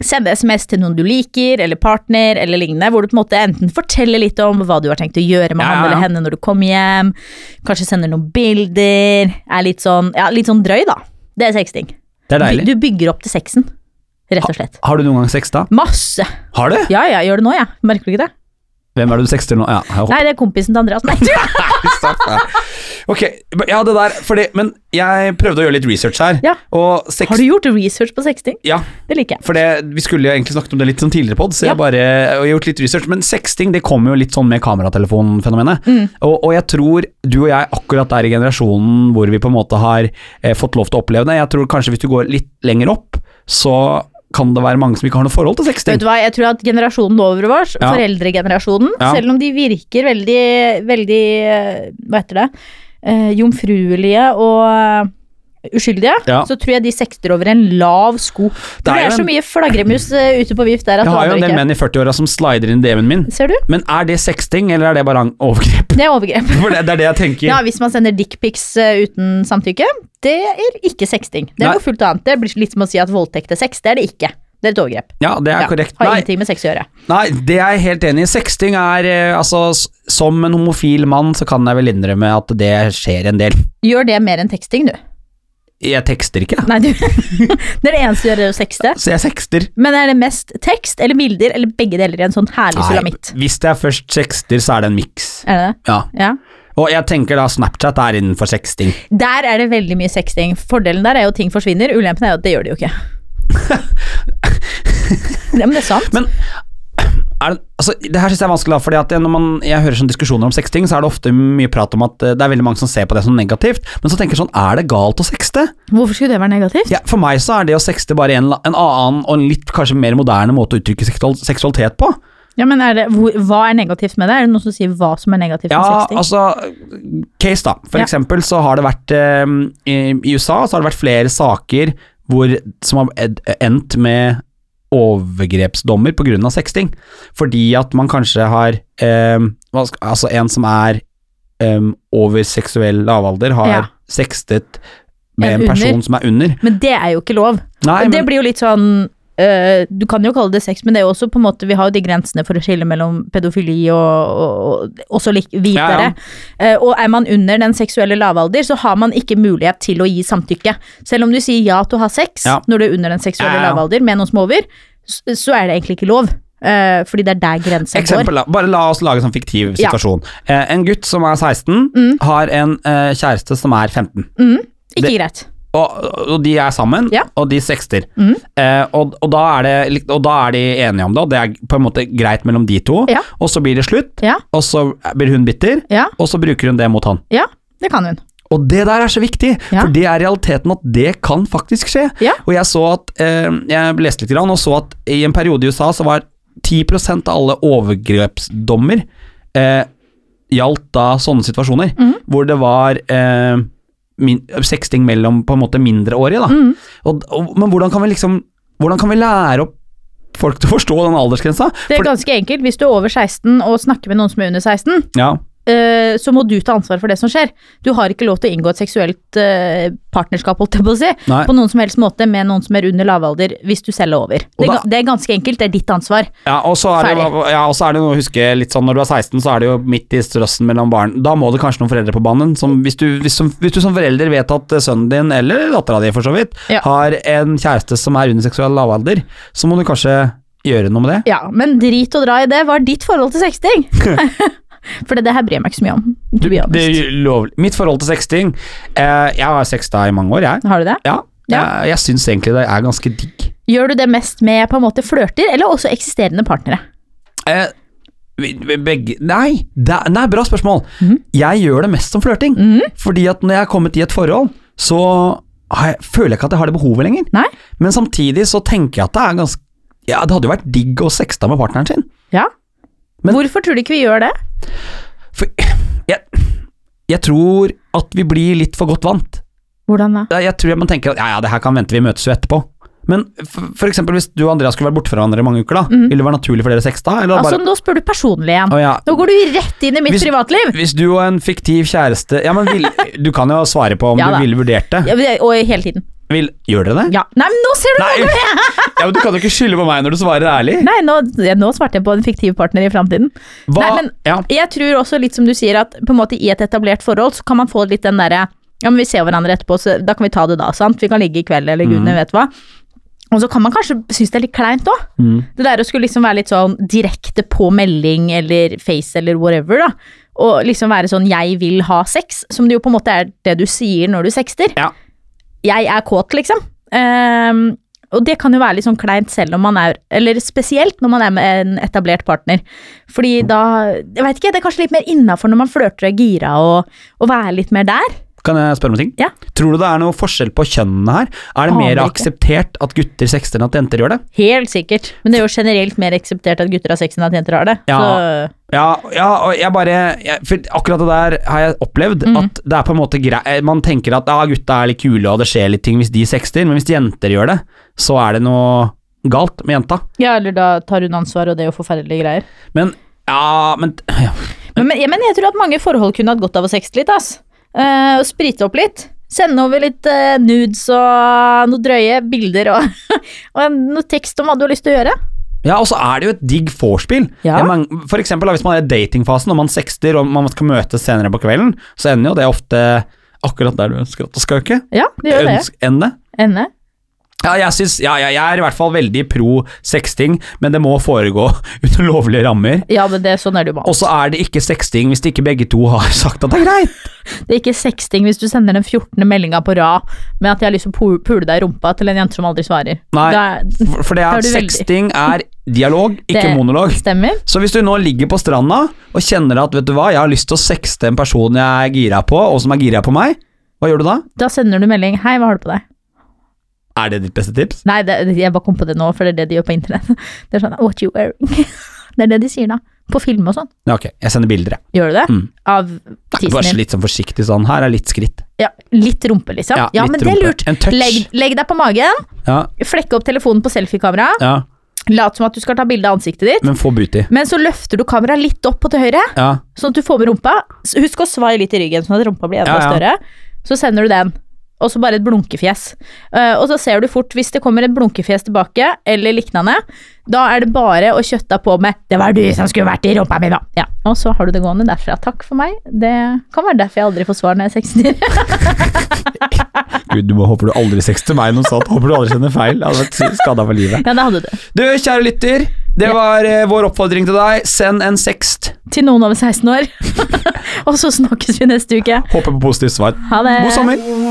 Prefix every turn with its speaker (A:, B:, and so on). A: sende SMS til noen du liker, eller partner, eller lignende, hvor du på en måte enten forteller litt om hva du har tenkt å gjøre med
B: Ja, ja,
A: han
B: ja.
A: eller henne når du kommer hjem, kanskje sender noen bilder, er litt sånn, ja, litt sånn drøy, da. Det er sexting.
B: Det er deilig.
A: Du bygger opp til sexen, rett og slett.
B: Har du noen gang sexta?
A: Masse.
B: Har du?
A: Ja, ja, gjør det nå, jeg. Ja. Merker du ikke det?
B: Hvem er det du sexter nå? Ja, jeg håper
A: Nei, det er kompisen til Andreas. Nei, du.
B: ikke sagt det. Ok, ja, det der, fordi, men jeg prøvde å gjøre litt research her,
A: Ja.
B: og sex...
A: Har du gjort research på sexting?
B: Ja,
A: Det liker jeg.
B: for det, vi skulle jo egentlig snakket om det litt sånn tidligere podd, så
A: Ja.
B: jeg bare jeg har gjort litt research, men sexting det kommer jo litt sånn med kameratelefonfenomenet,
A: Mm.
B: og, og jeg tror du og jeg akkurat er i generasjonen hvor vi på en måte har eh, fått lov til å oppleve det. Jeg tror kanskje hvis du går litt lenger opp, så kan det være mange som ikke har noe forhold til
A: Vet
B: sexting.
A: du hva, jeg tror at generasjonen over vår,
B: Ja.
A: foreldregenerasjonen,
B: Ja.
A: selv om de virker veldig, veldig, eh, hva heter det, eh, jomfruelige og eh, uskyldige,
B: Ja.
A: så tror jeg de sekter over en lav sko.
B: Det
A: Det
B: er
A: er,
B: jo
A: så
B: en-
A: mye flagremus eh, ute på vift der
B: Jeg
A: at du
B: har jo en
A: aner
B: del
A: ikke.
B: menn i 40-åra som slider inn DM-en min,
A: Ser du?
B: men er det sexting, eller er det bare an- overgrep?
A: Det er overgrep.
B: For det, det er det jeg tenker.
A: Ja, hvis man sender dickpics eh, uten samtykke, det er ikke sexting. Det
B: Nei.
A: er noe fullt annet. Det blir litt som å si at voldtekt er sex. Det er det ikke. Det er et overgrep.
B: Ja, det er
A: Ja,
B: korrekt.
A: Har
B: Nei,
A: ingenting med sex å gjøre.
B: Nei, det er jeg helt enig i. Sexting er eh, altså s- Som en homofil mann så kan jeg vel innrømme at det skjer en del.
A: Gjør det mer enn teksting, du.
B: Jeg tekster ikke, jeg.
A: Nei, du. det er det eneste du gjør, er å sexte.
B: så jeg sexter.
A: Men er det mest tekst eller bilder eller begge deler i en sånn herlig sulamitt?
B: hvis jeg først sexter, så er det en miks.
A: Er det det?
B: Ja.
A: Ja.
B: Og jeg tenker da Snapchat er innenfor sexting.
A: Der er det veldig mye sexting. Fordelen der er jo at ting forsvinner, ulempen er jo at det gjør det jo ikke. ja, men det er sant.
B: Men er det, altså, det her syns jeg er vanskelig, da, fordi at når man, jeg hører sånn diskusjoner om sexting, så er det ofte mye prat om at eh, det er veldig mange som ser på det som negativt, men så tenker jeg sånn, er det galt å sexte?
A: Hvorfor skulle det være negativt?
B: Ja, for meg så er det å sexte bare en, la- en annen og en litt kanskje mer moderne måte å uttrykke seksual- seksualitet på.
A: Ja, men er det, hvor, Hva er negativt med det? Er det noen som sier hva som er negativt med
B: Ja,
A: sexting?
B: altså Case, da. For
A: Ja.
B: eksempel så har det vært eh, I i USA så har det vært flere saker hvor, som har ed- endt med overgrepsdommer pga. sexting. Fordi at man kanskje har eh, hva sk- Altså, en som er eh, over seksuell lavalder, har
A: Ja.
B: sextet med
A: En
B: en, person
A: under.
B: som er under.
A: Men det er jo ikke lov.
B: Nei,
A: og det
B: men
A: blir jo litt sånn øh, Du kan jo kalle det sex, men det er jo også på en måte Vi har jo de grensene for å skille mellom pedofili og, og, og også lik, videre. Eh, og er man under den seksuelle lavalder, så har man ikke mulighet til å gi samtykke. Selv om du sier ja til å ha sex
B: Ja.
A: når du er under den seksuelle
B: Ja, ja.
A: lavalder med noen som er over, så, så er det egentlig ikke lov. Eh, fordi det er der grensen går.
B: Eksempel, da. bare la oss lage en sånn fiktiv
A: Ja. Mm.
B: situasjon. Eh, en gutt som er 16, har en eh, kjæreste som er 15.
A: Ikke
B: Det-
A: greit.
B: og, og de er sammen,
A: Ja. Mhm.
B: og de sexter. Eh, og, og, da er det, lik- og da er de enige om det, og det er på en måte greit mellom de to.
A: Ja.
B: Og så blir det slutt,
A: Ja,
B: og så blir hun bitter,
A: ja,
B: og så bruker hun det mot han.
A: ja. Det kan hun.
B: Og det der er så viktig,
A: Ja.
B: for det er realiteten at det kan faktisk skje.
A: Ja.
B: Og jeg så at, eh, jeg leste litt grann, og så at i en periode i USA så var 10 av alle overgrepsdommer eh, gjaldt da sånne situasjoner,
A: Mhm.
B: hvor det var eh, min, sexting mellom på en måte mindreårige. Da.
A: Mhm.
B: Og, og, men hvordan kan vi liksom Hvordan kan vi lære opp folk til å forstå den aldersgrensa?
A: Det er
B: For,
A: ganske enkelt. Hvis du er over 16 og snakker med noen som er under 16,
B: ja,
A: eh, så må du ta ansvar for det som skjer. Du har ikke lov til å inngå et seksuelt eh, partnerskap holdt jeg på, å si,
B: Nei.
A: på noen som helst måte med noen som er under lavalder, hvis du selv er over.
B: Og
A: Det, er
B: da-
A: ga- det er ganske enkelt, det er ditt ansvar.
B: Ja, og så er det,
A: Ferdig.
B: ja, og så er det noe å huske litt sånn, når du er 16, så er det jo midt i strøssen mellom barn. Da må det kanskje noen foreldre på banen. Som, hvis, du, hvis, som, hvis du som forelder vet at eh, sønnen din, eller dattera di for så vidt,
A: Ja.
B: har en kjæreste som er under seksuell lavalder, så må du kanskje gjøre noe med det.
A: Ja, men drit og dra i det. Hva er ditt forhold til sexting? for det, det her bryr jeg meg ikke så mye om. to be honest.
B: det er jo lovlig. Mitt forhold til sexting eh, Jeg har sexta i mange år, jeg.
A: Har du det?
B: Ja, eh,
A: Ja.
B: Jeg, jeg syns egentlig det er ganske digg.
A: Gjør du det mest med på en måte flørter, eller også eksisterende partnere?
B: Eh, vi- vi- begge Nei, det, er- nei bra spørsmål.
A: Mhm.
B: Jeg gjør det mest som flørting. Fordi at når jeg er kommet i et forhold, så har jeg, føler jeg ikke at jeg har det behovet lenger.
A: Nei?
B: Men samtidig så tenker jeg at det er ganske Ja, det hadde jo vært digg å sexta med partneren sin.
A: Ja.
B: Men-
A: Hvorfor tror du ikke vi gjør det?
B: For jeg, jeg tror at vi blir litt for godt vant.
A: Hvordan da?
B: Ja, Jeg tror man tenker at ja, ja, det her kan vente, vi møtes jo etterpå. Men for, for eksempel hvis du og Andrea skulle vært borte fra hverandre i mange uker, da,
A: Mhm.
B: ville det være naturlig for dere seks da? Eller
A: Altså,
B: bare,
A: nå spør du personlig igjen.
B: å, ja.
A: Nå går du rett inn i mitt
B: Hvis-
A: privatliv!
B: Hvis du og en fiktiv kjæreste Ja, men vil, Du kan jo svare på om
A: Ja da.
B: du ville vurdert det.
A: Ja, Og hele tiden.
B: Vil, gjør dere det?
A: Ja. Nei, men nå ser du
B: Nei, ja, men du kan jo ikke skylde på meg når du svarer ærlig.
A: Nei, nå, ja, nå svarte jeg på en fiktiv partner i framtiden.
B: Hva,
A: Nei, men-
B: ja.
A: Jeg tror også litt som du sier, at på en måte i et etablert forhold så kan man få litt den derre Ja, men vi ser hverandre etterpå, så da kan vi ta det da, sant? Vi kan ligge i kveld, eller
B: Mm.
A: gudene vet hva. Og så kan man kanskje synes det er litt kleint òg.
B: Mm.
A: Det der å skulle liksom være litt sånn direkte på melding eller face eller whatever, da. Og liksom være sånn 'jeg vil ha sex', som det jo på en måte er det du sier når du sexter.
B: Ja.
A: Jeg er kåt, liksom. Ehm, og det kan jo være litt sånn kleint selv om man er Eller spesielt når man er med en etablert partner. Fordi da Jeg veit ikke, det er kanskje litt mer innafor når man flørter og er gira og, og være litt mer der.
B: Kan jeg spørre om en ting?
A: Ja.
B: Tror du det er noe forskjell på kjønnene her? Er det
A: Aner
B: mer
A: ikke.
B: akseptert at gutter sexter enn at jenter gjør det?
A: Helt sikkert. Men det er jo generelt mer akseptert at gutter har sex enn at jenter har det.
B: Ja.
A: Så
B: Ja, ja og jeg bare jeg, For akkurat det der har jeg opplevd.
A: Mm.
B: At det er på en måte grei, eh, Man tenker at ja, gutta er litt kule, og det skjer litt ting hvis de sexter, men hvis jenter gjør det, så er det noe galt med jenta.
A: ja, eller da tar hun ansvar, og det er jo forferdelige greier.
B: Men ja, men ja.
A: Men, men, men jeg tror at mange forhold kunne hatt godt av å sexte litt, ass. Eh, og sprite opp litt. Sende over litt eh, nudes og noen drøye bilder og, og noe tekst om hva du har lyst til å gjøre.
B: Ja, og så er det jo et digg vorspiel.
A: Ja.
B: Det er mange- For eksempel da, hvis man er i datingfasen og man sexter og man skal møtes senere på kvelden, så ender jo det ofte akkurat der du ønsker at det skal øke.
A: Ja, det gjør det.
B: Ønsk- Ende.
A: Ende.
B: Ja, jeg, synes, ja, ja, jeg er i hvert fall veldig pro sexting, men det må foregå under lovlige rammer.
A: Ja, men det, sånn er det jo
B: Og
A: bare.
B: så er det ikke sexting hvis de ikke begge to har sagt at det er greit.
A: Det er ikke sexting hvis du sender den 14. meldinga på rad med at jeg har lyst til å pu- pule deg i rumpa til en jente som aldri svarer.
B: Nei.
A: Det
B: For- For det
A: Da er
B: er
A: du veldig-
B: sexting er dialog, ikke
A: Det-
B: monolog.
A: stemmer.
B: Så hvis du nå ligger på stranda og kjenner at vet du hva, jeg har lyst til å sexte en person jeg er gira på, og som er gira på meg, hva gjør du da?
A: Da sender du melding 'Hei, hva har du på deg?'
B: Er det ditt beste tips?
A: Nei, det, jeg bare kom på det nå, for det er det de gjør på internett. Det er sånn 'What you wearing?' Det er det de sier da. På film og sånn.
B: Ja, ok, jeg sender bilder, jeg.
A: Gjør du det?
B: Mm.
A: Av tissen
B: Bare
A: din?
B: litt sånn forsiktig sånn, her er litt skritt.
A: Ja, litt rumpe, liksom? Ja,
B: litt
A: men det er
B: rumpe.
A: lurt.
B: En touch.
A: Legg, legg deg på magen,
B: Ja,
A: flekke opp telefonen på selfiekamera,
B: ja,
A: lat som at du skal ta bilde av ansiktet ditt,
B: men få booty.
A: men så løfter du kameraet litt opp og til høyre,
B: Ja,
A: sånn at du får med rumpa. S- Husk å svai litt i ryggen, sånn at rumpa blir enda
B: Ja, ja.
A: større. Så sender du den. Og så bare et blunkefjes. Eh, og så ser du fort, hvis det kommer et blunkefjes tilbake, eller lignende, da er det bare å kjøtte på med 'Det var du som skulle vært i rumpa mi, da'. Ja. Og så har du det gående derfra. Takk for meg. Det kan være derfor jeg aldri får svar når jeg er 60.
B: gud, du må, håper du aldri sexter meg noe sånt, håper du aldri kjenner feil. Jeg hadde vært skada for livet.
A: Ja, det hadde du.
B: Du, kjære lytter, det
A: Ja.
B: var eh, vår oppfordring til deg. Send en sext.
A: Til noen over 16 år. Og så snakkes vi neste uke.
B: Håper på positivt svar.
A: Ha det.
B: God sommer!